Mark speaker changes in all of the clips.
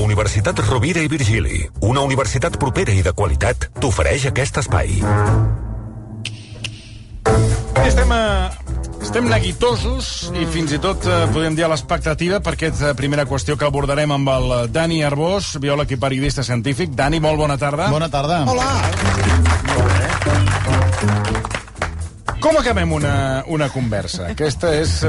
Speaker 1: Universitat Rovira i Virgili, una universitat propera i de qualitat, t'ofereix aquest espai.
Speaker 2: Estem, a... estem neguitosos i fins i tot eh, podem dir a l'expectativa per aquesta eh, primera qüestió que abordarem amb el eh, Dani Arbós, biòleg i periodista científic. Dani, molt bona tarda.
Speaker 3: Bona tarda.
Speaker 2: Com acabem una, una conversa? Aquesta és... Eh...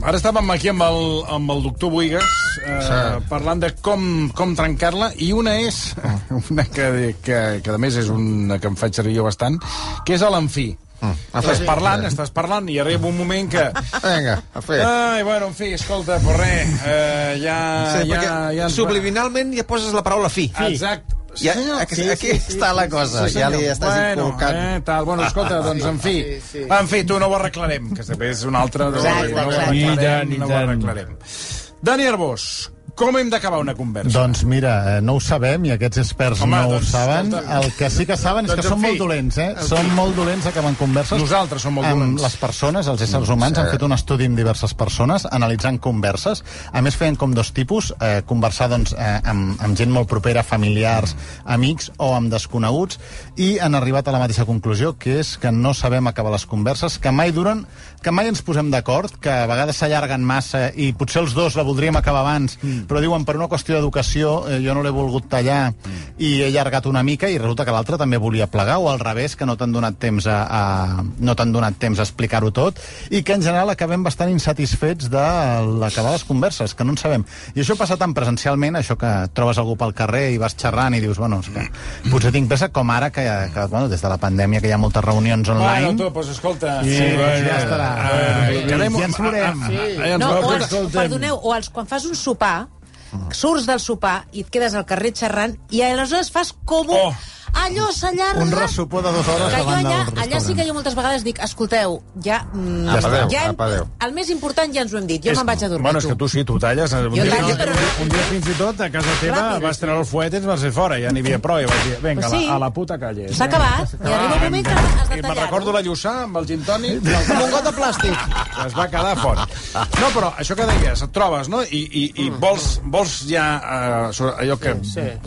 Speaker 2: Ara estàvem aquí amb el, amb el doctor Buigas eh, parlant de com, com trencar-la i una és, una que, que, que a més és una que em faig servir jo bastant, que és a l'enfí.
Speaker 4: a
Speaker 2: estàs
Speaker 4: fer.
Speaker 2: parlant, estàs parlant i arriba un moment que...
Speaker 4: Vinga, a fer.
Speaker 2: Ai, bueno, en fi, escolta, però res, eh, ja... ja,
Speaker 4: Sí, perquè
Speaker 2: ja ens- Ah,
Speaker 4: subliminalment ja poses la paraula fi.
Speaker 2: Exacte.
Speaker 4: Ja, aquí, aquí està la cosa, ja li estàs
Speaker 2: bueno,
Speaker 4: inculcant.
Speaker 2: Eh, tal. Bueno, escolta, doncs, en fi, sí, sí. en fi, tu no ho arreglarem, que també és una altra... No,
Speaker 5: Exacte,
Speaker 2: no, ho
Speaker 5: exacte.
Speaker 2: arreglarem,
Speaker 5: I tant, i
Speaker 2: no ho
Speaker 5: tant.
Speaker 2: arreglarem. Dani Arbós, com hem d'acabar una conversa?
Speaker 3: Doncs mira, eh, no ho sabem i aquests experts
Speaker 2: Home,
Speaker 3: no ho
Speaker 2: doncs,
Speaker 3: saben.
Speaker 2: escolta.
Speaker 3: El que sí que saben és
Speaker 2: Doncs,
Speaker 3: que
Speaker 2: en
Speaker 3: són
Speaker 2: fi.
Speaker 3: molt dolents, eh? Són molt dolents acabant converses.
Speaker 2: Nosaltres som molt
Speaker 3: Amb
Speaker 2: dolents.
Speaker 3: Les persones, els éssers humans, han fet un estudi amb diverses persones analitzant converses. A més, feien com dos tipus, eh, conversar doncs, eh, amb, amb gent molt propera, familiars, amics o amb desconeguts, i han arribat a la mateixa conclusió, que és que no sabem acabar les converses, que mai duren, que mai ens posem d'acord, que a vegades s'allarguen massa i potser els dos la voldríem acabar abans, però diuen per una qüestió d'educació eh, jo no l'he volgut tallar i he allargat una mica i resulta que l'altre també volia plegar o al revés, que no t'han donat temps a, a no t'han donat temps a explicar-ho tot i que en general acabem bastant insatisfets de l'acabar les converses, que no en sabem. I això passa tant presencialment, això que trobes algú pel carrer i vas xerrant i dius, bueno, és que potser tinc pressa, com ara que, que bueno, des de la pandèmia que hi ha moltes reunions online.
Speaker 2: Bueno, tu, doncs, escolta...
Speaker 3: Sí,
Speaker 2: bueno,
Speaker 3: ja estarà.
Speaker 2: eh,
Speaker 3: Ja
Speaker 2: quedem-
Speaker 3: ens veurem.
Speaker 2: Ah, ah, ah, ja ens
Speaker 5: No,
Speaker 2: veurem.
Speaker 5: o els, perdoneu, o els, quan fas un sopar, surts del sopar i et quedes al carrer xerrant i aleshores fas com un...
Speaker 2: Oh.
Speaker 5: Allò s'allarga...
Speaker 3: Un ressopó de dues hores
Speaker 5: que jo
Speaker 3: davant
Speaker 5: allà,
Speaker 3: del
Speaker 5: allà sí que
Speaker 3: restaurant.
Speaker 5: jo moltes vegades dic, escolteu, ja... Mm,
Speaker 4: Apa, adéu,
Speaker 5: ja hem-
Speaker 4: apa, adéu.
Speaker 5: el més important ja ens ho hem dit, jo me'n vaig a dormir.
Speaker 2: Bueno, és que tu sí, tu talles. Un dia,
Speaker 5: tallo,
Speaker 2: un,
Speaker 5: però
Speaker 2: dia,
Speaker 5: no.
Speaker 2: un dia fins i tot a casa teva
Speaker 5: Ràpid.
Speaker 2: vas treure el fuet i ens vas fer fora. Ja n'hi havia prou. I vas dir, vinga,
Speaker 5: Pues
Speaker 2: sí. a,
Speaker 5: sí.
Speaker 2: la, a la puta calle. eh?"
Speaker 5: S'ha acabat, i arriba un moment que
Speaker 2: Ah,
Speaker 5: has de
Speaker 2: I
Speaker 5: eh?
Speaker 2: Eh, me'n
Speaker 5: tallar-ho.
Speaker 2: recordo la Lluçà amb el gin tònic amb un got de plàstic. Es va quedar fort. No, però això que deies, et trobes, no? I, i, i
Speaker 5: Mm.
Speaker 2: vols, vols ja eh, sobre allò que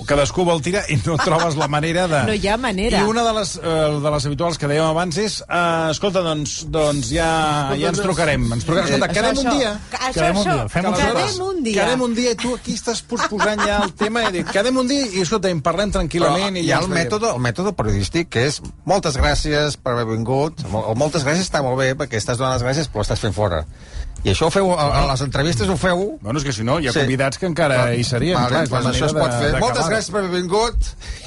Speaker 2: cadascú vol tirar i no trobes la manera de...
Speaker 5: No hi ha manera.
Speaker 2: I una de les, eh, de les habituals que dèiem abans és, eh, escolta, doncs, doncs ja, ja ens trucarem. Ens trucarem. Escolta, quedem un dia.
Speaker 5: Això,
Speaker 3: Quedem un
Speaker 5: això.
Speaker 3: dia, fem
Speaker 2: Que
Speaker 3: un
Speaker 2: aleshores
Speaker 5: Quedem un dia.
Speaker 2: Quedem un dia i tu aquí estàs posposant ja el tema i dic, quedem un dia i escolta, en parlem tranquil·lament
Speaker 4: Però
Speaker 2: i
Speaker 4: hi
Speaker 2: ja
Speaker 4: ha el mètode, el mètode periodístic, que és moltes gràcies per haver vingut, o o moltes gràcies està molt bé, perquè estàs donant les gràcies, però estàs fent fora. I això ho feu, a, a les entrevistes ho feu...
Speaker 2: Bueno, és que si no, hi ha
Speaker 4: Sí.
Speaker 2: convidats que encara Eh, hi serien.
Speaker 4: Vale,
Speaker 2: clar, és la
Speaker 4: doncs això es
Speaker 2: manera
Speaker 4: pot
Speaker 2: de-
Speaker 4: fer.
Speaker 2: d'acabar.
Speaker 4: Moltes gràcies per haver vingut,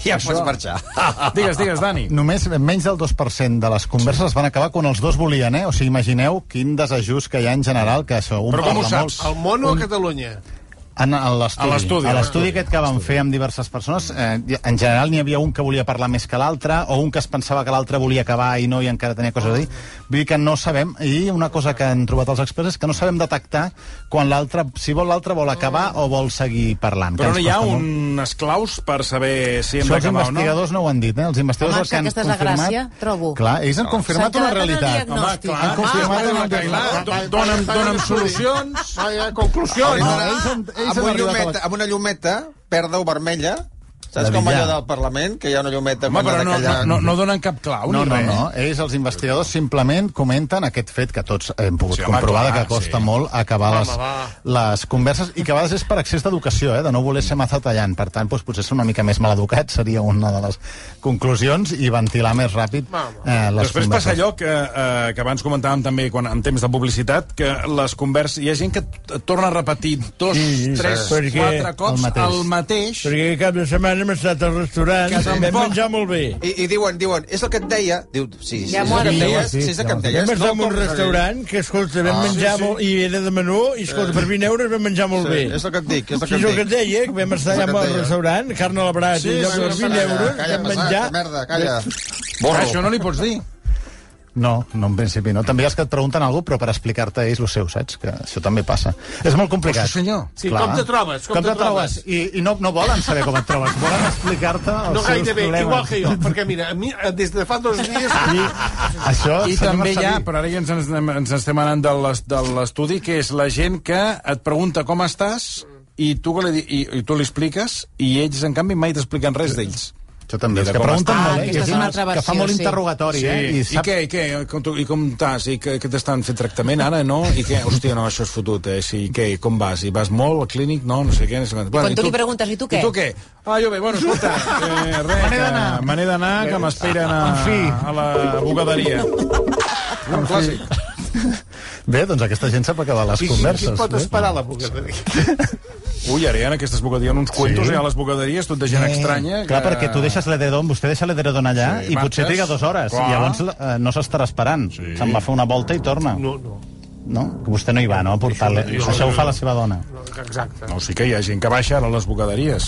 Speaker 4: i ja
Speaker 2: Això-
Speaker 4: pots marxar.
Speaker 2: Digues, digues, Dani.
Speaker 3: Només menys del 2% de les converses es van acabar quan els dos volien, eh? O sigui, imagineu quin desajust que hi ha en general, que això, un
Speaker 2: Però com
Speaker 3: parla
Speaker 2: ho saps?
Speaker 3: molt.
Speaker 6: Al món o a Catalunya?
Speaker 3: En, en l'estudi.
Speaker 2: A l'estudi, eh?
Speaker 3: A
Speaker 2: a
Speaker 3: l'estudi aquest que van fer amb diverses persones, eh, en general n'hi havia un que volia parlar més que l'altre, o un que es pensava que l'altre volia acabar i no, i encara tenia coses a dir. Vull dir que no sabem, i una cosa que han trobat els experts és que no sabem detectar quan l'altre, si vol l'altre, vol acabar o vol seguir parlant. que
Speaker 2: Però no
Speaker 3: ens
Speaker 2: hi ha
Speaker 3: costa molt.
Speaker 2: unes claus per saber si hem
Speaker 3: Això els
Speaker 2: d'acabar o no?
Speaker 3: investigadors no ho han dit, eh? Els investigadors
Speaker 5: Home,
Speaker 3: el que han
Speaker 5: aquesta és la
Speaker 3: confirmat...
Speaker 5: gràcia, trobo.
Speaker 3: Clar, ells han confirmat
Speaker 5: S'han
Speaker 3: una
Speaker 5: quedat en el
Speaker 3: realitat.
Speaker 5: diagnòstic.
Speaker 2: Home, clar,
Speaker 3: Han confirmat
Speaker 2: clar,
Speaker 3: en el
Speaker 2: clar, clar,
Speaker 3: diagnòstic.
Speaker 2: clar, Dona'm, dona'm solucions.
Speaker 6: Vaja, conclusió.
Speaker 3: No,
Speaker 4: Ara,
Speaker 3: ells han- ells han
Speaker 4: amb, una
Speaker 3: arribat a la-
Speaker 4: llumeta, amb una llumeta verda o vermella,
Speaker 3: La
Speaker 4: saps com allò
Speaker 3: Villar.
Speaker 4: del Parlament, que hi ha una llumeta...
Speaker 2: Home,
Speaker 4: quan
Speaker 2: però
Speaker 4: ha de
Speaker 2: no, no,
Speaker 4: callar?
Speaker 2: no, no eh? donen cap clau
Speaker 3: No,
Speaker 2: ni
Speaker 3: no,
Speaker 2: res.
Speaker 3: no. Ells, els investigadors, simplement comenten aquest fet que tots hem pogut
Speaker 2: Sí,
Speaker 3: sí,
Speaker 2: home,
Speaker 3: comprovar
Speaker 2: clar,
Speaker 3: que costa
Speaker 2: sí.
Speaker 3: sí. molt acabar les, les converses i que a vegades és per excés d'educació, eh, de no voler ser massa tallant. Per tant, doncs, potser ser una mica més maleducat seria una de les conclusions i ventilar més ràpid eh, les
Speaker 2: Després
Speaker 3: converses.
Speaker 2: passa allò que, eh, que abans comentàvem també quan, en temps de publicitat, que les converses... Hi ha gent que t- torna a repetir dos,
Speaker 5: Sí,
Speaker 2: sí, tres,
Speaker 5: sí.
Speaker 2: sí,
Speaker 5: Perquè
Speaker 2: quatre cops
Speaker 3: el
Speaker 2: el
Speaker 3: mateix.
Speaker 2: mateix. El mateix.
Speaker 5: Perquè cap de setmana hem estat al restaurant,
Speaker 2: Que tampoc-
Speaker 5: hem menjat molt bé.
Speaker 4: I, I diuen, diuen, és el que et deia... Diu, sí, sí,
Speaker 5: Ja
Speaker 4: és
Speaker 5: m'ho
Speaker 4: el que
Speaker 5: han
Speaker 4: et
Speaker 5: dit.
Speaker 4: deia,
Speaker 3: Sí,
Speaker 4: sí, és el
Speaker 3: ja
Speaker 4: que
Speaker 3: m'ho
Speaker 4: et
Speaker 3: han
Speaker 4: deia.
Speaker 5: Vam estar en
Speaker 4: no
Speaker 5: un
Speaker 4: tornaré.
Speaker 5: restaurant que, escolta, vam menjar
Speaker 2: sí.
Speaker 5: molt... I era de menú, i, escolta, per 20 euros vam menjar molt bé.
Speaker 4: Sí, és el que et dic, és el que
Speaker 5: Sí, és el que
Speaker 4: et dic.
Speaker 5: et deia, que vam estar
Speaker 4: És el
Speaker 5: allà
Speaker 4: que et
Speaker 5: al
Speaker 4: deia.
Speaker 5: restaurant, carn a la brasa,
Speaker 2: Sí,
Speaker 5: i allò
Speaker 2: sí,
Speaker 5: per
Speaker 2: sí,
Speaker 5: 20
Speaker 2: calla,
Speaker 5: euros
Speaker 4: Calla,
Speaker 5: vam
Speaker 4: pesat,
Speaker 5: menjar...
Speaker 4: que merda, calla.
Speaker 2: Borro. Això no li pots dir.
Speaker 3: No, no, en principi no. També els que et pregunten alguna però per explicar-te ells el seu, saps? Que això també passa. És molt complicat.
Speaker 2: Hosti, senyor.
Speaker 6: Sí, com te trobes, com
Speaker 3: Com,
Speaker 6: te
Speaker 3: te trobes? I, i no, no volen saber com et trobes, volen explicar-te els
Speaker 6: No
Speaker 3: seus
Speaker 6: gairebé,
Speaker 3: problemes.
Speaker 6: igual que jo. Perquè, mira, a mi, eh, des de fa dos dies...
Speaker 3: Això,
Speaker 2: I
Speaker 3: senyor
Speaker 2: també hi ha,
Speaker 3: Marcelí.
Speaker 2: però ara ja ens, ens, ens estem anant de l'es- de l'estudi, que és la gent que et pregunta com estàs i i tu, que li, di- i, i tu li expliques i ells, en canvi, mai t'expliquen res d'ells.
Speaker 3: Això també,
Speaker 2: I
Speaker 3: és
Speaker 2: de
Speaker 3: que
Speaker 2: com
Speaker 3: pregunten
Speaker 5: està.
Speaker 3: molt,
Speaker 5: Ah,
Speaker 3: eh?
Speaker 5: aquesta és una altra
Speaker 3: que fa
Speaker 5: versió,
Speaker 3: molt
Speaker 5: sí.
Speaker 3: interrogatori,
Speaker 2: Sí,
Speaker 3: eh? I,
Speaker 2: I,
Speaker 3: sap...
Speaker 2: què, i què? Com, tu, I com estàs? I que, que t'estan fent tractament ara, no? I què? Hòstia, no, això és fotut, eh? Sí, i què? I com vas? I vas molt al clínic? No, no sé què. No sé quan.
Speaker 5: quan tu li preguntes, "I tu què?"
Speaker 2: I tu què? Ah, jo bé, bueno, escolta, eh, res,
Speaker 3: Me n'he d'anar.
Speaker 2: que me n'he d'anar, que m'esperen a,
Speaker 3: En fi.
Speaker 2: a la bugaderia. Un clàssic.
Speaker 3: Bé, doncs aquesta gent sap acabar les
Speaker 6: I qui, qui
Speaker 3: converses.
Speaker 6: pot
Speaker 3: bé?
Speaker 6: esperar la bugaderia?
Speaker 2: Ui, ara hi ha en aquestes bugaderies, uns cuentos,
Speaker 3: Sí.
Speaker 2: sí. hi ha les bugaderies, tot de gent
Speaker 3: Eh,
Speaker 2: estranya.
Speaker 3: Clar, perquè tu deixes l'edredon, vostè deixa l'edredon allà
Speaker 2: Sí,
Speaker 3: i potser
Speaker 2: marxes.
Speaker 3: triga dues hores.
Speaker 2: Clar.
Speaker 3: I llavors eh, no s'estarà esperant.
Speaker 2: Sí.
Speaker 3: Se'n va fer una volta i torna.
Speaker 6: No, no.
Speaker 3: No? Que vostè no hi va, no? A portar-la.
Speaker 6: Això-
Speaker 3: Això ho fa la seva dona.
Speaker 6: no exacte.
Speaker 2: No, sí que hi ha gent que baixa ara a les bugaderies.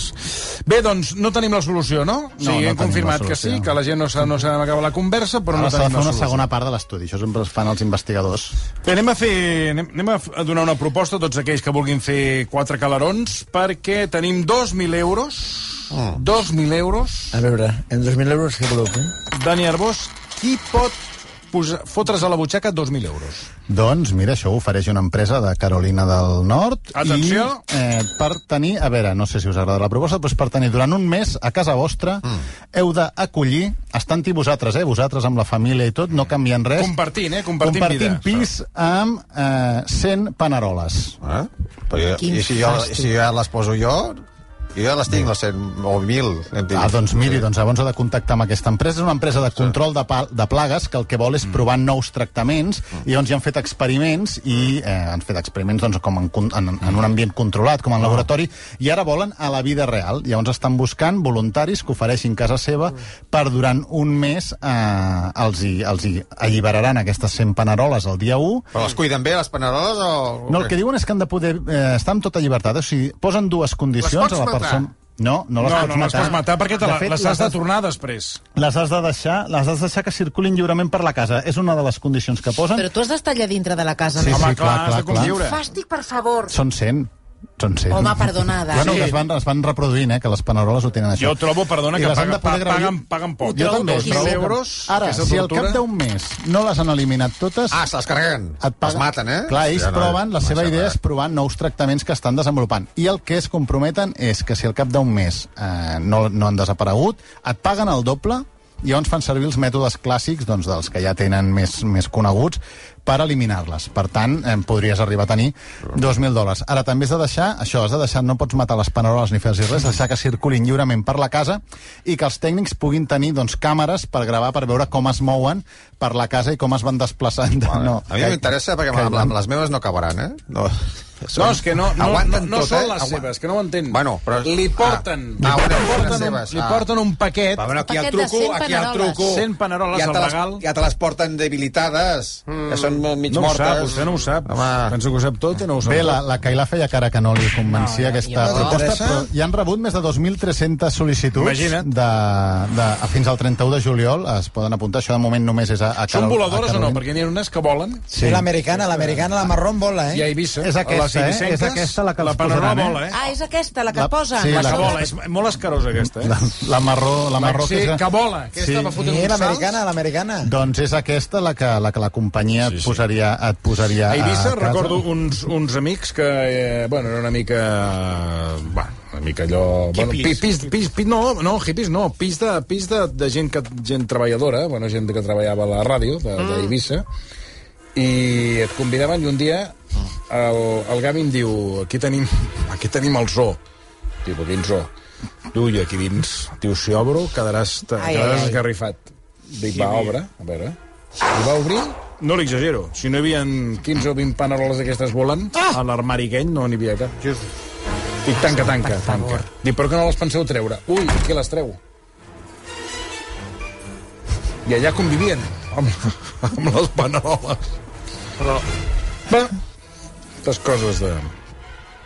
Speaker 2: Bé, doncs no tenim la solució, no? No, sí,
Speaker 3: no
Speaker 2: hem
Speaker 3: tenim
Speaker 2: confirmat
Speaker 3: la
Speaker 2: que
Speaker 3: solució.
Speaker 2: sí, que la gent no s'ha no s'ha acabat la conversa, però
Speaker 3: Ara
Speaker 2: no
Speaker 3: s'ha de
Speaker 2: tenim la
Speaker 3: fer una
Speaker 2: solució.
Speaker 3: segona part de l'estudi. Això sempre es fan els investigadors.
Speaker 2: Bé, anem a, fer, anem, anem a f- a donar una proposta a tots aquells que vulguin fer quatre calarons, perquè tenim 2.000 euros,
Speaker 3: Oh.
Speaker 2: 2.000 euros.
Speaker 7: A veure, en 2.000 euros què voleu fer?
Speaker 2: Dani Arbós, qui pot posar, fotre's a la butxaca 2.000 euros?
Speaker 3: Doncs mira, això ho ofereix una empresa de Carolina del Nord
Speaker 2: Atenció.
Speaker 3: i eh, per tenir, a veure, no sé si us agrada la proposta, però és per tenir durant un mes a casa vostra mm. heu d'acollir, estant-hi vosaltres, eh, vosaltres amb la família i tot, no canviant res,
Speaker 2: Compartint, eh? Compartint,
Speaker 3: compartint
Speaker 2: vida.
Speaker 3: pis amb eh, 100 paneroles.
Speaker 4: Eh? Però jo,
Speaker 5: Quin
Speaker 4: I si jo,
Speaker 5: fàstic.
Speaker 4: si jo les poso jo, jo ja les tinc, les 100 o 1.000. hem dit.
Speaker 3: Ah, doncs miri, doncs llavors ha de contactar amb aquesta empresa. És una empresa de control de, pa- de plagues que el que
Speaker 2: Mm.
Speaker 3: vol és provar nous tractaments i llavors hi han fet experiments i eh, han fet experiments doncs, com en, con- en, en
Speaker 2: Mm.
Speaker 3: un ambient controlat, com en laboratori, i ara volen a la vida real. Llavors estan buscant voluntaris que ofereixin casa seva
Speaker 2: Mm.
Speaker 3: per durant un mes eh, els, hi, els hi alliberaran aquestes 100 paneroles el dia 1
Speaker 4: Però les cuiden bé, les paneroles, o...
Speaker 3: no, el que diuen és que han de poder eh, estar amb tota llibertat. O sigui, posen dues condicions a la
Speaker 6: matar?
Speaker 3: persona... No, no les
Speaker 2: No,
Speaker 3: pots
Speaker 2: no, les
Speaker 3: matar.
Speaker 2: pots matar perquè te la,
Speaker 3: De fet,
Speaker 2: les has de
Speaker 3: has-
Speaker 2: tornar després.
Speaker 3: les has de deixar, les has de deixar que circulin lliurement per la casa. És una de les condicions que posen.
Speaker 5: Però tu has d'estar allà dintre de la casa,
Speaker 3: Sí,
Speaker 5: no?
Speaker 2: Home,
Speaker 3: sí, clar,
Speaker 2: clar, has
Speaker 3: clar,
Speaker 2: de
Speaker 3: clar.
Speaker 2: conviure.
Speaker 5: Fàstic, per favor.
Speaker 3: Són 100. Són 100.
Speaker 5: Home, perdonada.
Speaker 3: Bueno,
Speaker 5: Sí.
Speaker 3: que es van, es van reproduint, eh, que les paneroles ho tenen això.
Speaker 2: Jo trobo, perdona,
Speaker 3: I
Speaker 2: que
Speaker 3: les han
Speaker 2: paguen-
Speaker 3: de poder
Speaker 2: pa-
Speaker 3: gaudir.
Speaker 2: paguen- paguen poc.
Speaker 3: Jo
Speaker 5: Trobo
Speaker 3: també.
Speaker 5: poquíssim.
Speaker 3: trobo que-
Speaker 2: euros,
Speaker 3: Ara,
Speaker 2: aquesta
Speaker 3: si al
Speaker 2: tortura.
Speaker 3: cap d'un mes no les han eliminat totes...
Speaker 4: Ah, se les carreguen.
Speaker 3: et
Speaker 4: Les
Speaker 3: paguen.
Speaker 4: maten, eh?
Speaker 3: Clar, ells
Speaker 4: Hòstia, no,
Speaker 3: proven, la
Speaker 4: m'ha
Speaker 3: seva idea és
Speaker 4: semblat.
Speaker 3: provar nous tractaments que estan desenvolupant. I el que es comprometen és que si al cap d'un mes eh, no, no han desaparegut, et paguen el doble i llavors fan servir els mètodes clàssics doncs, dels que ja tenen més, més coneguts per eliminar-les. Per tant, eh, podries arribar a tenir 2.000 dòlars. Ara, també has de deixar, això, has de deixar, no pots matar les paneroles ni fer-los res, has de deixar que circulin lliurement per la casa i que els tècnics puguin tenir doncs, càmeres per gravar, per veure com es mouen per la casa i com es van desplaçant. de-
Speaker 4: Vale.
Speaker 3: No,
Speaker 4: a mi
Speaker 3: que-
Speaker 4: m'interessa perquè
Speaker 3: que hi
Speaker 4: amb, amb
Speaker 3: van.
Speaker 4: les meves no acabaran, eh? No,
Speaker 2: No, és que no, no, no,
Speaker 4: Aguanten
Speaker 2: no
Speaker 4: tot,
Speaker 2: són
Speaker 4: eh?
Speaker 2: les
Speaker 4: Aguant-
Speaker 2: seves, que no ho entenc.
Speaker 4: Bueno, però-
Speaker 2: Li porten,
Speaker 4: Ah, ah, bueno,
Speaker 2: li,
Speaker 4: les
Speaker 2: porten
Speaker 4: seves,
Speaker 2: un, li
Speaker 4: ah.
Speaker 2: porten un paquet,
Speaker 4: Va, bueno, aquí el
Speaker 5: Paquet de
Speaker 4: truco,
Speaker 5: 100
Speaker 4: aquí el
Speaker 5: paneroles.
Speaker 4: truco.
Speaker 2: 100 paneroles
Speaker 4: ja
Speaker 2: al
Speaker 4: te les,
Speaker 2: regal.
Speaker 4: Ja te les porten debilitades, mm. que són molt mig
Speaker 2: no ho
Speaker 4: mortes.
Speaker 2: sap, vostè no ho sap.
Speaker 4: Home,
Speaker 2: Penso que ho sap tot i no ho sap.
Speaker 3: Bé, la, la Cailà feia cara que no li convencia no, aquesta
Speaker 4: ja no.
Speaker 3: proposta,
Speaker 4: Interessa?
Speaker 3: però ja han rebut més de 2.300 sol·licituds
Speaker 2: Imagina't.
Speaker 3: de, de, a- fins al 31 de juliol. Es poden apuntar, això de moment només és a, a
Speaker 2: Són
Speaker 3: Carol-
Speaker 2: voladores o
Speaker 3: a
Speaker 2: no?
Speaker 3: Carolina.
Speaker 2: Perquè n'hi ha unes que volen
Speaker 7: Sí. L'americana, l'americana, la marrón vola,
Speaker 2: i a
Speaker 7: eh?
Speaker 2: Eivissa.
Speaker 3: És aquesta,
Speaker 2: a les
Speaker 3: eh?
Speaker 2: eivissenques,
Speaker 3: És aquesta la que
Speaker 2: la
Speaker 3: els
Speaker 2: panorama
Speaker 3: posaran, eh?
Speaker 2: vola, eh?
Speaker 5: Ah, és aquesta, la que
Speaker 3: La-
Speaker 5: la, posa?
Speaker 3: sí,
Speaker 2: La,
Speaker 3: la-
Speaker 2: que vola, és molt escarosa aquesta, eh?
Speaker 3: La, la marró, la marró
Speaker 2: sí,
Speaker 3: que és...
Speaker 2: que vola. Aquesta
Speaker 3: Sí.
Speaker 2: va fotent
Speaker 7: Sí,
Speaker 2: uns salts.
Speaker 7: l'americana, l'americana.
Speaker 3: Doncs és aquesta la que la, que la companyia sí, sí. et posaria, et posaria
Speaker 2: A Eivissa
Speaker 3: casa.
Speaker 2: recordo uns, uns amics que, eh, bueno, era una mica... Bueno, una mica allò... Bueno, pis, pis, pis, pis, no, no, hippies no, pis de, pis de, de gent, que, gent treballadora, bueno, gent que treballava a la ràdio de- d'Eivissa, i et convidaven i un dia el, el Gavi em diu aquí tenim, aquí tenim el zoo. Diu, quin zoo? Tu i aquí dins. Diu, si obro quedaràs, te,
Speaker 5: Ai, ai,
Speaker 2: quedaràs
Speaker 5: ai.
Speaker 2: esgarrifat. Dic, va, obre, a veure. I va obrir, no l'exagero, si no hi havia 15 o 20 paneroles d'aquestes volant, ah! a l'armari aquell no n'hi havia cap. Dic, tanca, tanca, tanca. Dic, però que no les penseu treure? Ui, aquí les treu. I allà convivien amb, amb les paneroles.
Speaker 6: Però
Speaker 2: Bé, les coses de,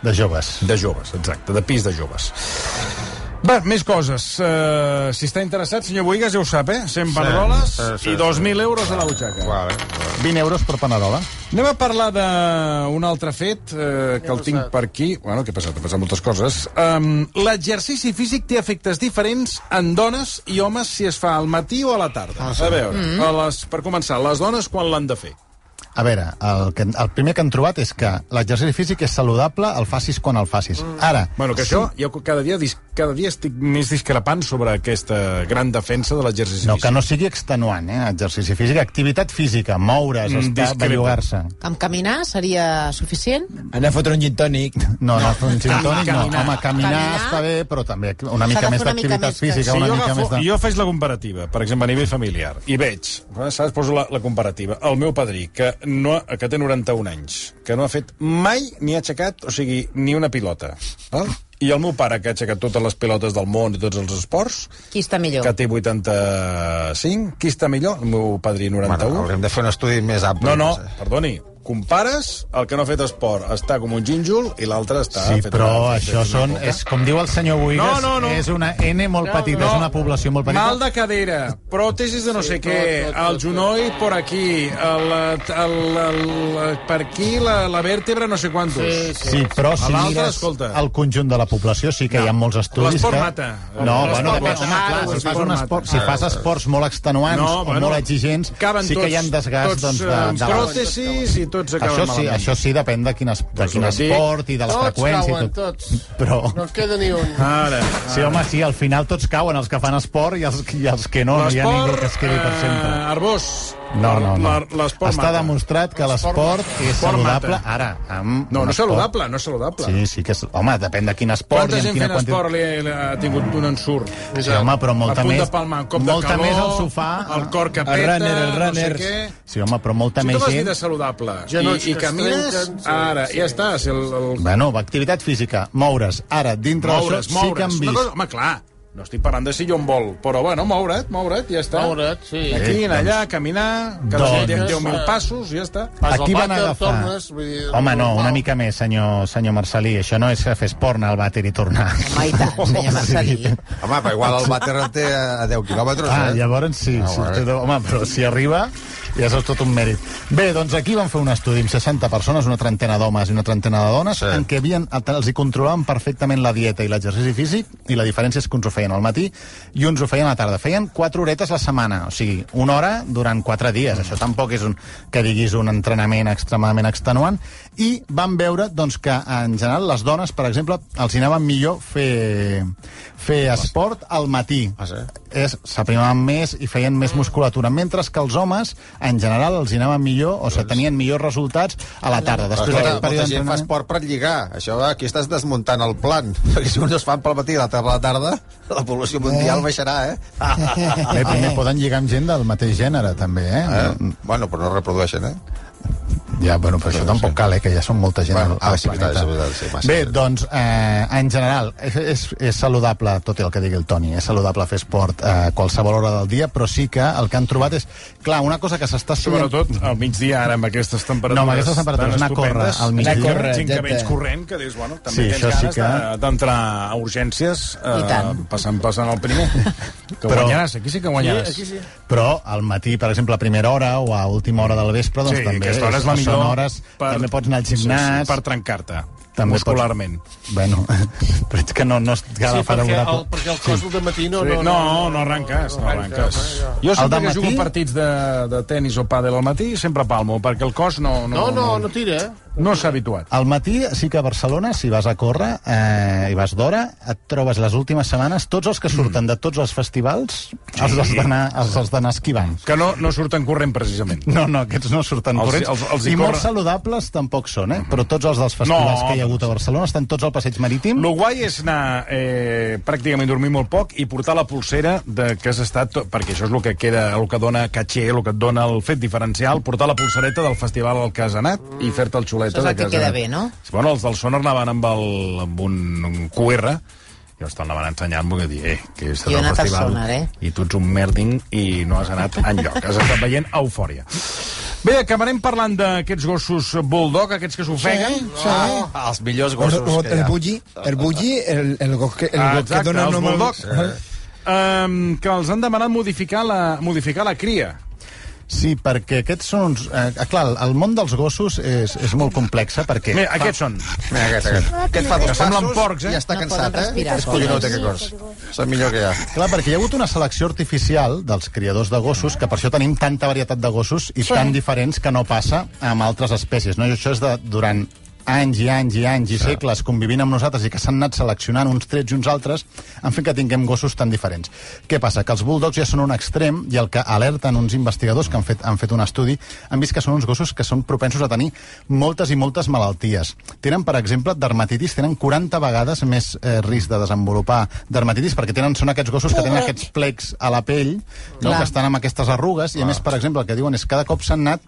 Speaker 3: De joves.
Speaker 2: de joves, exacte, de pis de joves. Bé, més coses. Uh, si està interessat, senyor Boigas, ja ho sap, eh? 100 paneroles
Speaker 4: sí, sí,
Speaker 2: i 2.000 euros a la butxaca.
Speaker 4: vale.
Speaker 3: 20 euros per panerola.
Speaker 2: Anem a parlar d'un altre fet eh, que el tinc per aquí. Bueno, què ha passat? Ha passat moltes coses. Um, L'exercici físic té efectes diferents en dones i homes si es fa al matí o a la tarda. Ah, sí. A veure, mm -hmm. a les, per començar, les dones quan l'han de fer?
Speaker 3: A veure, el, que, el primer que han trobat és que l'exercici físic és saludable, el facis quan el facis. Ara,
Speaker 2: Mm. Bueno, que això, jo cada dia, dis- cada dia estic més discrepant sobre aquesta gran defensa de l'exercici
Speaker 3: no,
Speaker 2: físic.
Speaker 3: que no sigui extenuant, eh? Exercici físic, activitat física, moure's,
Speaker 2: Mm,
Speaker 3: estar,
Speaker 2: discrepo.
Speaker 3: bellugar-se.
Speaker 5: Amb caminar seria suficient?
Speaker 7: Anar a fotre un gin tònic.
Speaker 3: No, no, no, caminar, no. Home, caminar,
Speaker 5: Caminar.
Speaker 3: està bé, però també una
Speaker 5: de
Speaker 3: mica
Speaker 5: fer
Speaker 3: més
Speaker 5: una mica
Speaker 3: d'activitat
Speaker 5: més que-
Speaker 3: física,
Speaker 2: Si
Speaker 3: una
Speaker 2: jo,
Speaker 3: mica
Speaker 2: agafo,
Speaker 3: més de...
Speaker 2: jo faig la comparativa, per exemple, a nivell familiar, i veig, eh, saps, poso la, la comparativa, el meu padrí, que, no, ha- que té 91 anys, que no ha fet mai ni ha aixecat, o sigui, ni una pilota, val? i el meu pare, que ha aixecat totes les pilotes del món i tots els esports,
Speaker 5: Qui està millor?
Speaker 2: que té 85, qui està millor? El meu padrí, 91.
Speaker 4: Bueno, hauríem de fer un estudi més ampli.
Speaker 2: No, no,
Speaker 4: sé.
Speaker 2: perdoni. Compares el que no ha fet esport. Està com un gínjol i l'altre està...
Speaker 3: Sí,
Speaker 2: fet
Speaker 3: Ah, però
Speaker 2: una-
Speaker 3: això
Speaker 2: fet una
Speaker 3: són...
Speaker 2: coca.
Speaker 3: És, com diu el senyor Buigas,
Speaker 2: No, no, no.
Speaker 3: és una N molt petita, és una població molt petita.
Speaker 2: Mal de cadera, pròtesis de no sé què, el genoll per aquí, el, el, el, el, per aquí la, la vèrtebra no sé quantos. Sí, sí.
Speaker 3: Sí, però
Speaker 2: A
Speaker 3: si
Speaker 2: l'altre,
Speaker 3: mires
Speaker 2: escolta.
Speaker 3: el conjunt de la població sí que hi ha molts estudis
Speaker 2: L'esport
Speaker 3: que...
Speaker 2: mata.
Speaker 3: No,
Speaker 2: L'esport
Speaker 3: bueno, depèn,
Speaker 2: mata.
Speaker 3: home, clar,
Speaker 2: Ara,
Speaker 3: si fas,
Speaker 2: l'esport
Speaker 3: un
Speaker 2: mata.
Speaker 3: esport, si fas esports molt extenuants o molt exigents,
Speaker 2: Ah. caben
Speaker 3: sí que hi ha desgast
Speaker 2: tots,
Speaker 3: doncs, de,
Speaker 2: eh,
Speaker 3: de les...
Speaker 2: pròtesis i tots acaben
Speaker 3: Això sí,
Speaker 2: malament. Doncs
Speaker 3: això sí, depèn de, quines, de
Speaker 2: ho
Speaker 3: quin
Speaker 2: dic.
Speaker 3: esport i de les
Speaker 6: Tots
Speaker 3: freqüències.
Speaker 6: cauen,
Speaker 3: i tot.
Speaker 6: tots.
Speaker 3: Però...
Speaker 6: No en queda ni un.
Speaker 2: Ara,
Speaker 3: Sí, home, sí, al final tots cauen, els que fan esport i els, i els que no, no hi ha ningú que es quedi per sempre.
Speaker 2: eh, Arbós,
Speaker 3: No, no, no.
Speaker 2: la- l'esport
Speaker 3: Està
Speaker 2: mata.
Speaker 3: demostrat que l'esport és
Speaker 2: Esport
Speaker 3: saludable
Speaker 2: mata.
Speaker 3: ara. Amb
Speaker 2: No,
Speaker 3: un
Speaker 2: no és
Speaker 3: esport-
Speaker 2: saludable, no és saludable.
Speaker 3: Sí, sí que és... Home, depèn de quin esport
Speaker 2: Quanta
Speaker 3: i amb
Speaker 2: gent
Speaker 3: quina
Speaker 2: fent
Speaker 3: quantitat...
Speaker 2: esport li, li ha tingut un ensurt?
Speaker 3: Sí, home, però molta
Speaker 2: a punt
Speaker 3: més...
Speaker 2: de palmar, un cop de
Speaker 3: molta
Speaker 2: calor,
Speaker 3: més al sofà...
Speaker 2: el cor que
Speaker 7: el
Speaker 2: peta,
Speaker 7: runner, el runner.
Speaker 2: no sé què...
Speaker 3: Sí, home, però molta
Speaker 2: Si tu
Speaker 3: més
Speaker 2: vas
Speaker 3: gent...
Speaker 2: vida saludable
Speaker 6: Genolls
Speaker 2: i, i
Speaker 6: que es
Speaker 2: camines,
Speaker 6: trenquen, sí,
Speaker 2: ara,
Speaker 6: sí.
Speaker 2: ja està. Si el, el...
Speaker 3: Bueno, va, activitat física, moure's. Ara, dintre
Speaker 2: Moure's,
Speaker 3: d'això sí que
Speaker 2: moure's.
Speaker 3: han
Speaker 2: Una
Speaker 3: vist...
Speaker 2: cosa, home, clar, no estic parlant de si jo em vol, però bueno, moure't, moure't, ja està.
Speaker 6: Moure't, sí.
Speaker 2: Aquí,
Speaker 3: Eh,
Speaker 2: en allà, caminar, cada
Speaker 3: Doncs-
Speaker 2: doncs... dia 10.000 passos, ja està.
Speaker 6: Vas al
Speaker 3: Aquí van
Speaker 6: vàter,
Speaker 3: agafar...
Speaker 6: tornes, vull dir,
Speaker 3: Home, no, una
Speaker 6: normal.
Speaker 3: mica més, senyor, senyor Marcelí. Això no és fer esport, anar al vàter i tornar.
Speaker 5: Home, i tant, senyor Marcelí.
Speaker 4: Home, però igual el vàter el té a a 10 quilòmetres,
Speaker 3: Ah,
Speaker 4: eh?
Speaker 3: llavors sí.
Speaker 4: Ah,
Speaker 3: sí
Speaker 4: bueno.
Speaker 3: tot, home, però si arriba, ja és tot un mèrit. Bé, doncs aquí van fer un estudi amb 60 persones, una trentena d'homes i una trentena de dones,
Speaker 4: Sí.
Speaker 3: sí. en què havien, els hi controlaven perfectament la dieta i l'exercici físic, i la diferència és que uns ho feien al matí i uns ho feien a la tarda. Feien 4 horetes la setmana, o sigui, una hora durant 4 dies. Això tampoc és un, que diguis un entrenament extremadament extenuant. I van veure doncs, que, en general, les dones, per exemple, els hi anava millor fer, fer esport al matí
Speaker 4: Ah, sí?
Speaker 3: és- s'aprimaven més i feien
Speaker 4: Mm.
Speaker 3: més musculatura, mentre que els homes, en general, els hi anaven millor o se tenien millors resultats a la tarda.
Speaker 4: Però
Speaker 3: Després
Speaker 4: Escolta,
Speaker 3: d'aquest
Speaker 4: molta
Speaker 3: període
Speaker 4: gent fa
Speaker 3: d'entrenament...
Speaker 4: esport per lligar. Això aquí estàs desmuntant el plan. Perquè si uns es fan pel matí i l'altre per la tarda, la població mundial baixarà, eh?
Speaker 3: Bé, primer poden lligar amb gent del mateix gènere, també, eh? eh?
Speaker 4: eh? Bueno, però no reprodueixen, eh?
Speaker 3: Ja, bueno, però això tampoc cal, eh, que ja són molta gent
Speaker 4: Bueno,
Speaker 3: bueno, al,
Speaker 4: ah, sí,
Speaker 3: planeta.
Speaker 4: veritat, és veritat, sí, massa
Speaker 3: Bé,
Speaker 4: gent.
Speaker 3: doncs, eh, en general, és, és, és saludable, tot i el que digui el Toni, és saludable fer esport eh, a qualsevol hora del dia, però sí que el que han trobat és... Clar, una cosa que s'està estudiant...
Speaker 2: Sobretot al migdia, ara, amb aquestes temperatures
Speaker 3: No, amb aquestes temperatures,
Speaker 2: tan
Speaker 3: anar a córrer
Speaker 2: estupendes,
Speaker 3: al migdia.
Speaker 2: anar a
Speaker 7: Anar a
Speaker 2: Gent que
Speaker 7: córrer,
Speaker 2: veig
Speaker 7: exacte.
Speaker 2: corrent, que dius, bueno, també
Speaker 3: Sí,
Speaker 2: tens
Speaker 3: això sí
Speaker 2: ganes
Speaker 3: que-
Speaker 2: de- d'entrar a urgències eh,
Speaker 5: I tant.
Speaker 2: passant, passant el primer. Que
Speaker 3: Però-
Speaker 2: guanyaràs, aquí sí que guanyaràs.
Speaker 6: Aquí sí.
Speaker 3: però al matí, per exemple, a primera hora o a última hora del vespre, doncs
Speaker 2: sí,
Speaker 3: també
Speaker 2: aquesta hora és la millor.
Speaker 3: són hores, per... també pots anar al
Speaker 2: Sí,
Speaker 3: gimnàs...
Speaker 2: sí, per trencar-te,
Speaker 3: també
Speaker 2: muscularment. Pots...
Speaker 3: Pots... Bueno, però és que no, no és cada
Speaker 6: Sí, perquè el,
Speaker 3: favorable.
Speaker 6: perquè el cos de matí no...
Speaker 2: Sí. No, no, no arrenques, no arrenques. Jo
Speaker 3: El
Speaker 2: sempre
Speaker 3: de
Speaker 2: que jugo
Speaker 3: matí?
Speaker 2: partits de, de tennis o pàdel al matí sempre palmo, perquè el cos no, no,
Speaker 6: No, no, no tira, eh?
Speaker 2: no s'ha habituat.
Speaker 3: Al matí sí que a Barcelona, si vas a córrer eh, i vas d'hora, et trobes les últimes setmanes tots
Speaker 2: Mm.
Speaker 3: els que surten de tots els festivals els has d'anar els has d'anar esquivant.
Speaker 2: Que no, no surten corrent, precisament.
Speaker 3: No, no, aquests no surten
Speaker 2: Els-
Speaker 3: corrents.
Speaker 2: els- els hi
Speaker 3: I molt
Speaker 2: corre- Mm-hmm.
Speaker 3: saludables tampoc són, eh? Però tots els dels festivals
Speaker 2: No,
Speaker 3: que hi ha hagut a Barcelona estan tots al passeig marítim.
Speaker 2: Lo guai és anar eh, pràcticament dormir molt poc i portar la pulsera de que has estat... to- Perquè això és el que queda, el que dona caché, el que et dona el fet diferencial, portar la pulsereta del festival al que has anat i fer-te el xuleta.
Speaker 5: Això és el
Speaker 2: de
Speaker 5: que
Speaker 2: has
Speaker 5: queda
Speaker 2: anat.
Speaker 5: bé, no?
Speaker 2: Sí, Bueno, els del Sonar anaven amb, el, amb un, un QR, i llavors te'n la van ensenyant, vull dir, eh, que és
Speaker 5: Jo he
Speaker 2: del
Speaker 5: anat al
Speaker 2: festival,
Speaker 5: Sonar, eh?
Speaker 2: i tu ets un merding i no has anat enlloc, has estat veient eufòria. Bé, acabarem parlant d'aquests gossos bulldog, aquests que s'ofeguen.
Speaker 7: Sí.
Speaker 4: Ah, oh, Els millors
Speaker 7: O,
Speaker 4: gossos
Speaker 7: o
Speaker 4: que hi
Speaker 7: el
Speaker 4: ha.
Speaker 7: bulli, el bulli, el, el gos que, el
Speaker 2: Ah,
Speaker 7: gos que
Speaker 2: exacte,
Speaker 7: dona
Speaker 2: els
Speaker 7: nom al-
Speaker 2: bulldogs. Um, que els han demanat modificar la, modificar la cria.
Speaker 3: Sí, perquè aquests són uns... Eh, clar, el món dels gossos és, és molt complex, eh, perquè...
Speaker 2: Mira, aquests són.
Speaker 4: Mira, aquest, aquest. Aquest fa dos
Speaker 2: semblen
Speaker 4: passos
Speaker 2: porcs, eh?
Speaker 4: i està
Speaker 5: No
Speaker 4: cansat,
Speaker 5: poden
Speaker 4: eh?
Speaker 5: respirar,
Speaker 4: És collonut, aquest gos. Són millor que ja.
Speaker 3: Clar, perquè hi ha hagut una selecció artificial dels criadors de gossos, que per això tenim tanta varietat de gossos i sí. tan diferents que no passa amb altres espècies. No? I això és de, durant anys i anys i anys i sí. segles convivint amb nosaltres i que s'han anat seleccionant uns trets i uns altres, en fi que tinguem gossos tan diferents. Què passa? Que els bulldogs ja són un extrem i el que alerten uns investigadors que han fet, han fet un estudi han vist que són uns gossos que són propensos a tenir moltes i moltes malalties. Tenen, per exemple, dermatitis, tenen 40 vegades més eh, risc de desenvolupar dermatitis perquè tenen, són aquests gossos que tenen aquests plecs a la pell, no,
Speaker 5: Clar.
Speaker 3: que estan amb aquestes arrugues, i a més, per exemple, el que diuen és cada cop s'han anat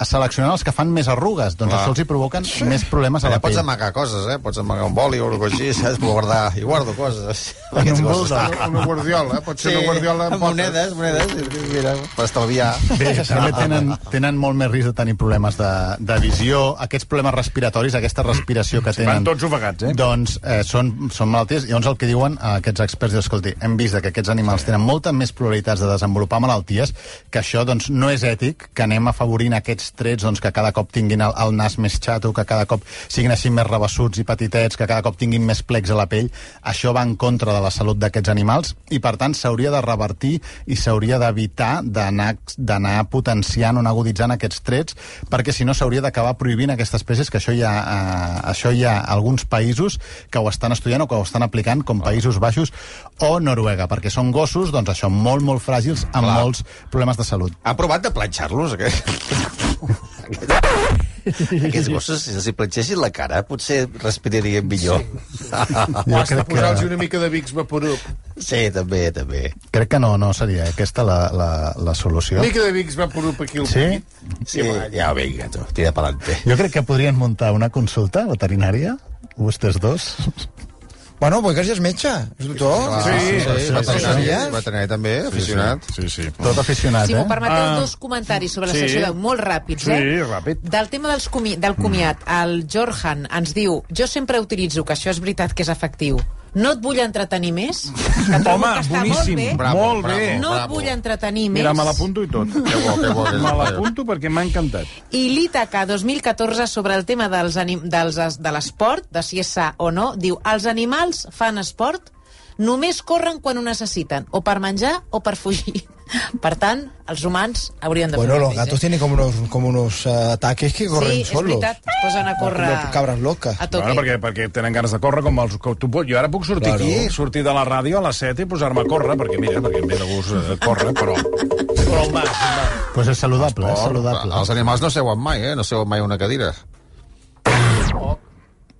Speaker 3: a seleccionar els que fan més arrugues, doncs
Speaker 4: Clar.
Speaker 3: això els hi provoquen més problemes a
Speaker 4: Allà
Speaker 3: la
Speaker 4: pots
Speaker 3: pell.
Speaker 4: amagar coses, eh? Pots amagar un boli o alguna cosa així, saps? Puc guardar... I guardo coses. Aquests
Speaker 3: un
Speaker 4: gossos.
Speaker 3: bulldog.
Speaker 4: Ah,
Speaker 6: Una guardiola, eh? pot ser una guardiola amb potes.
Speaker 4: monedes, monedes, i mira, per estalviar.
Speaker 3: Bé, també tenen, tenen molt més risc de tenir problemes de, de visió, aquests problemes respiratoris, aquesta respiració que tenen.
Speaker 2: Van tots ofegats, eh?
Speaker 3: Doncs eh, són, són malalties, i llavors el que diuen eh, aquests experts, diu, escolti, hem vist que aquests animals tenen moltes més probabilitats de desenvolupar malalties, que això doncs, no és ètic, que anem afavorint aquests trets doncs, que cada cop tinguin el, el nas més xato, que cada cop siguin així més rebassuts i petitets, que cada cop tinguin més plecs a la pell, això va en contra de la salut d'aquests animals i per tant s'hauria de revertir i s'hauria d'evitar d'anar d'anar potenciant o anar aguditzant aquests trets perquè si no s'hauria d'acabar prohibint aquestes espècies que això hi, ha, eh, això hi ha alguns països que ho estan estudiant o que ho estan aplicant com Països Baixos o Noruega perquè són gossos, doncs això, molt molt fràgils amb
Speaker 4: Clar.
Speaker 3: molts problemes de salut
Speaker 4: Ha provat de planxar-los, aquest? Aquests gossos, si els hi planxessin la cara, potser respirarien millor.
Speaker 3: Jo
Speaker 6: Has de
Speaker 3: crec que,
Speaker 6: posar-los una mica de Vicks Vaporub.
Speaker 4: Sí, també, també.
Speaker 3: crec que no, no seria aquesta la, la, la solució
Speaker 6: Una mica de Vicks Vaporub aquí al
Speaker 3: Sí?
Speaker 4: Sí, va, ja, vinga, tu, tira pa'lante.
Speaker 3: Jo crec que podrien muntar una consulta veterinària, vostès dos.
Speaker 7: Bueno, pues gràcies, metge. És doctor.
Speaker 4: Sí, sí,
Speaker 7: Ah, sí, sí.
Speaker 4: veterinari,
Speaker 7: Sí.
Speaker 4: veterinari també, aficionat.
Speaker 2: Sí, sí.
Speaker 3: Tot aficionat,
Speaker 5: Si m'ho
Speaker 3: eh?
Speaker 5: permeteu,
Speaker 2: Ah.
Speaker 5: dos comentaris sobre la
Speaker 2: Sí.
Speaker 5: secció de molt ràpids,
Speaker 2: Sí,
Speaker 5: eh?
Speaker 2: ràpid. Mm.
Speaker 5: Del tema dels comi del comiat, el Jorhan ens diu jo sempre utilitzo, que això és veritat que és efectiu, no et vull entretenir més, que trobo
Speaker 2: Home,
Speaker 5: que està
Speaker 2: boníssim.
Speaker 5: molt bé,
Speaker 2: Bravo, Molt bé. bravo,
Speaker 5: no et vull entretenir més.
Speaker 2: Mira, me l'apunto i tot.
Speaker 4: Que bo, que bo. que
Speaker 2: Me
Speaker 4: bo.
Speaker 2: l'apunto perquè m'ha encantat.
Speaker 5: I l'Ítaca 2014 sobre el tema dels anim dels, de l'esport, de si és sa o no, diu els animals fan esport, només corren quan ho necessiten, o per menjar o per fugir. Per tant, els humans haurien de
Speaker 7: Bueno,
Speaker 5: fer el
Speaker 7: los
Speaker 5: mateix,
Speaker 7: gatos
Speaker 5: eh?
Speaker 7: tienen como unos, como unos eh, ataques que corren
Speaker 5: Sí, és
Speaker 7: solos.
Speaker 5: veritat, es posen a córrer...
Speaker 7: Como cabras locas.
Speaker 5: A toque.
Speaker 2: Bueno, perquè, perquè tenen ganes de córrer com els... que Tu, pot- jo ara puc sortir
Speaker 7: Claro.
Speaker 2: claro. aquí, sortir de la ràdio a les 7 i posar-me a córrer, perquè mira, perquè em ve de gust eh, córrer, però... Però home,
Speaker 3: Doncs pues és saludable, és saludable.
Speaker 4: Els animals no seuen mai, eh? No seuen mai a una cadira.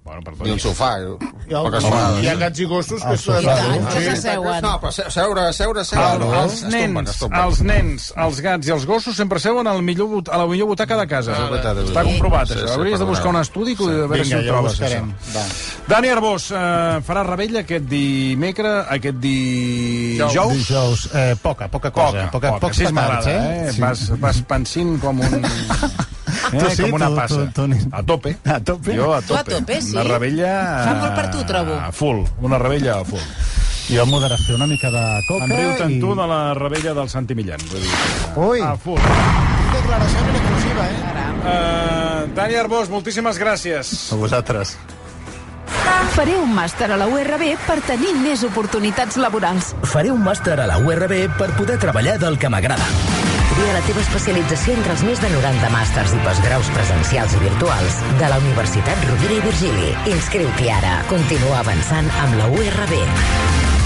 Speaker 2: Bueno,
Speaker 4: Ni
Speaker 2: perdó.
Speaker 4: un sofà. eh? O
Speaker 6: Hi
Speaker 4: que
Speaker 6: ha
Speaker 4: sofà.
Speaker 6: gats i gossos que
Speaker 3: Ah,
Speaker 6: estan...
Speaker 5: I tant, que s'asseuen.
Speaker 4: No, però se- seure, seure, seure.
Speaker 2: El,
Speaker 4: Ah, no,
Speaker 2: els,
Speaker 4: es tomben,
Speaker 2: nens,
Speaker 4: es tomben.
Speaker 2: els nens, els gats i els gossos sempre seuen al millor, bot- a la millor butaca de casa.
Speaker 4: Ah, és veritat, és
Speaker 2: Està
Speaker 4: veritat.
Speaker 2: comprovat,
Speaker 4: Sí,
Speaker 2: això.
Speaker 4: sí,
Speaker 2: Hauries de
Speaker 4: perdoneu.
Speaker 2: buscar un estudi que a veure si
Speaker 3: Vinga,
Speaker 2: ho
Speaker 3: ja ho
Speaker 2: trobes.
Speaker 3: buscarem.
Speaker 2: això.
Speaker 3: Va.
Speaker 2: Dani Arbós eh, farà rebella aquest dimecre, aquest dijous.
Speaker 3: Dijous, eh, poca, poca cosa. Poca, poca,
Speaker 2: sí,
Speaker 3: pocs petards,
Speaker 2: m'agrada,
Speaker 3: eh?
Speaker 2: eh? Vas, vas pensint com un... Eh,
Speaker 3: Tu sí,
Speaker 2: com una
Speaker 3: tu-
Speaker 2: passa.
Speaker 3: tu- tu-
Speaker 2: A tope.
Speaker 3: A tope.
Speaker 2: Jo a
Speaker 5: Tu a
Speaker 2: tope.
Speaker 5: tope, sí.
Speaker 2: Una rebella...
Speaker 5: Fa molt per tu, trobo.
Speaker 2: A full. Una rebella a full.
Speaker 3: Jo en moderació una mica de coca
Speaker 2: En riu tant
Speaker 3: i...
Speaker 2: tu de la rebella del Santi Millán. Vull dir,
Speaker 3: Ui,
Speaker 2: a full.
Speaker 7: Declaración en exclusiva, ¿eh?
Speaker 2: Uh, Dani Arbós, moltíssimes gràcies.
Speaker 3: a vosaltres.
Speaker 8: Faré un màster a la URB per tenir més oportunitats laborals.
Speaker 9: Faré un màster a la URB per poder treballar del que m'agrada.
Speaker 10: Tria la teva especialització entre els més de 90 màsters i postgraus presencials i virtuals de la Universitat Rovira i Virgili. Inscriu-t'hi ara. Continua avançant amb la URB.